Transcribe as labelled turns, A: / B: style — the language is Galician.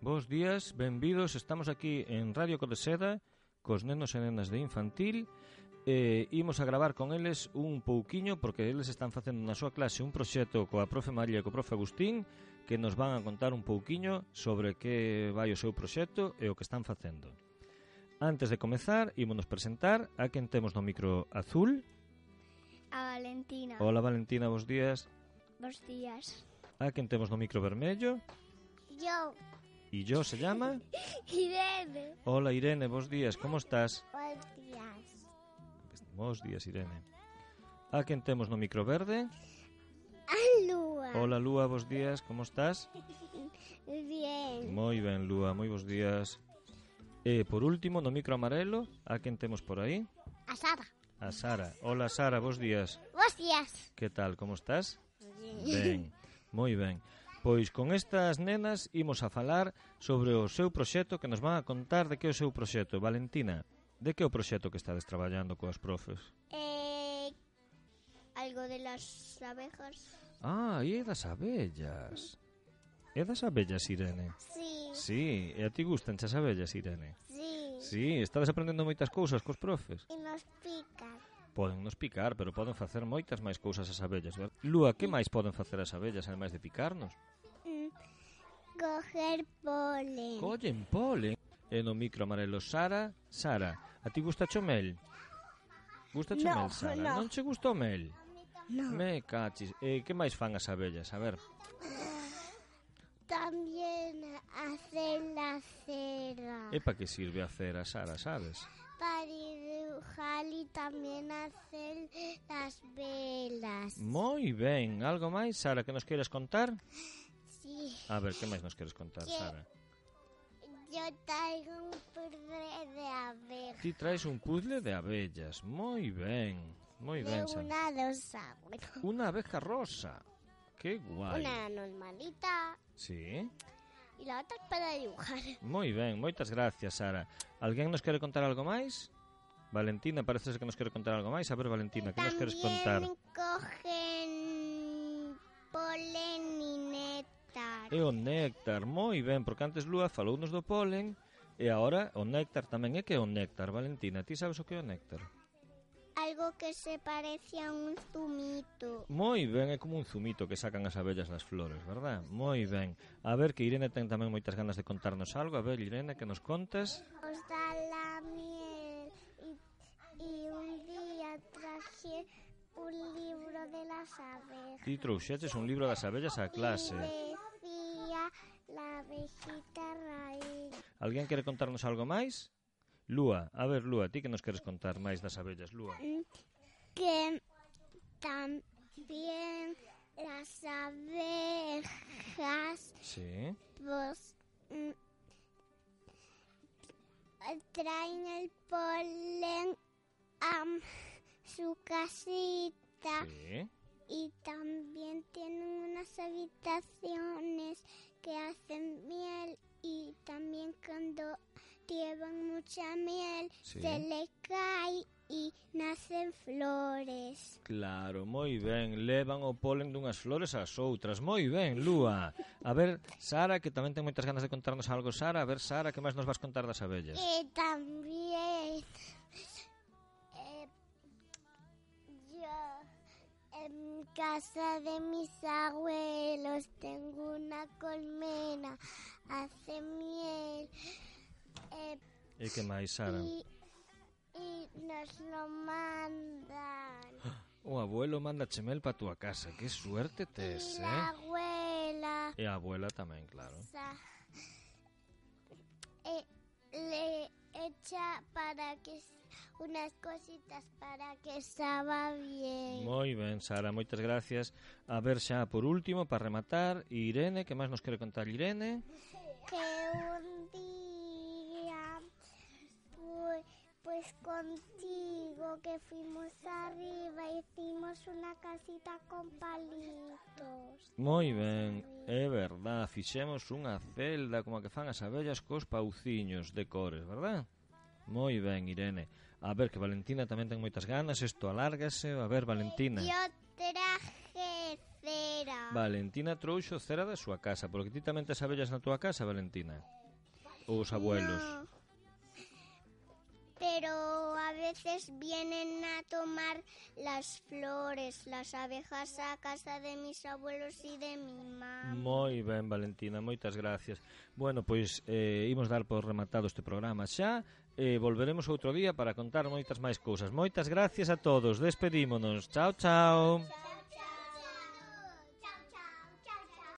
A: Bos días, benvidos, estamos aquí en Radio Codeseda cos nenos e nenas de infantil eh, imos a gravar con eles un pouquiño porque eles están facendo na súa clase un proxecto coa profe María e co profe Agustín que nos van a contar un pouquiño sobre que vai o seu proxecto e o que están facendo. Antes de comezar, ímonos presentar a quen temos no micro azul.
B: A Valentina.
A: Hola Valentina, bos días.
B: Bos días.
A: A quen temos no micro vermello.
C: Yo.
A: E yo se llama?
C: Irene.
A: Hola Irene, bos días, como estás?
C: Bos días.
A: Bos días Irene. A quen temos no micro verde?
C: A Lúa.
A: Hola Lúa, bos días, como estás?
C: Bien.
A: Moi ben Lúa, moi bos días. E por último, no micro amarelo, a quen temos por aí?
C: A Sara.
A: A Sara. Hola Sara, bos días.
C: Bos días.
A: Que tal, como estás?
C: Bien.
A: Ben, moi ben. Pois con estas nenas imos a falar sobre o seu proxecto que nos van a contar de que é o seu proxecto. Valentina, de que é o proxecto que estades traballando coas profes?
B: Eh, algo de las abejas.
A: Ah, e é das abellas. É das abellas, Irene?
B: Sí,
A: Sí, e a ti gustan as abellas, Irene?
B: sí.
A: Sí, estades aprendendo moitas cousas cos profes.
B: E nos pican.
A: Poden nos picar, pero poden facer moitas máis cousas as abellas. ver? Lúa, que máis poden facer as abellas, ademais de picarnos?
B: Coger polen.
A: Collen polen. E no micro amarelo Sara, Sara, a ti gusta o mel? Gusta o
C: No,
A: mel, Sara?
C: no.
A: Non che gusta o mel?
C: No.
A: Me cachis. E que máis fan as abellas? A ver,
B: También hacer la cera.
A: e pa que sirve a cera, Sara, sabes?
B: Para dibujar y también hacer las velas.
A: Moi ben, algo máis, Sara, que nos queres contar?
B: Sí.
A: A ver, que máis nos queres contar,
B: Que-
A: Sara?
B: Yo traigo un puzzle de abejas.
A: Ti traes un puzzle de abellas. Moi ben, moi
B: De
A: ben, Sara.
B: una rosa. Bueno,
A: Una abeja rosa. Que guai.
B: una normalita.
A: Sí.
B: Y la otra para dibujar.
A: Moi ben, moitas gracias, Sara. Alguén nos quere contar algo máis? Valentina, parece ser que nos quere contar algo máis. A ver, Valentina, que nos queres contar?
B: También cogen polen y néctar.
A: E o néctar, moi ben, porque antes Lúa falounos do polen e agora o néctar tamén é que é o néctar, Valentina. Ti sabes o que é o néctar?
B: Algo que se parece a un zumito.
A: Moi ben, é como un zumito que sacan as abellas das flores, verdad? Moi ben. A ver, que Irene ten tamén moitas ganas de contarnos algo. A ver, Irene, que nos contas?
B: Os da la miel. Y, y un día traje un libro de las abejas.
A: Ti trouxeches un libro das abellas á clase.
B: Y decía la abejita raíz.
A: Alguén quere contarnos algo máis? Lúa, a ver, Lúa, ti que nos queres contar máis das abellas, Lúa?
B: que también las abejas
A: Sí.
B: pues, mm, traen el polen a su casita
A: Sí.
B: y también tienen unas habitaciones que hacen miel y también cuando llevan mucha miel
A: Sí.
B: se le cae y nacen flores.
A: Claro, moi ben. Levan o polen dunhas flores ás outras. Moi ben, Lúa. A ver, Sara, que tamén ten moitas ganas de contarnos algo, Sara. A ver, Sara, que máis nos vas contar das abellas?
B: Y Eh, también eh, yo en casa de mis abuelos tengo una colmena, hace miel eh,
A: E que máis, Sara?
B: y, y nos lo mandan.
A: O abuelo manda chemel pa túa casa. Que suerte tes,
B: y la
A: eh?
B: abuela
A: E a abuela tamén, claro.
B: sa- eh, le echa para que s- unas cositas para que estaba bien.
A: Moi ben, Sara, moitas gracias. A ver xa, por último, para rematar, Irene, que máis nos quere contar Irene?
B: que un día pues, pues contigo que fuimos arriba y hicimos una casita con palitos.
A: Moi ben, é verdad, fixemos unha celda como a que fan as abellas cos pauciños de cores, verdad? Moi ben, Irene. A ver, que Valentina tamén ten moitas ganas, isto alárgase. A ver, Valentina.
B: Yo traje cera.
A: Valentina trouxo cera da súa casa, porque ti tamén tes abellas na túa casa, Valentina. Ou os abuelos.
B: No. Pero a veces vienen a tomar las flores, las abejas a casa de mis abuelos y de mi mamá.
A: Moi ben, Valentina, moitas gracias. Bueno, pois eh, imos dar por rematado este programa xa. Eh, volveremos outro día para contar moitas máis cousas. Moitas gracias a todos. Despedímonos. Chao, chao. chao.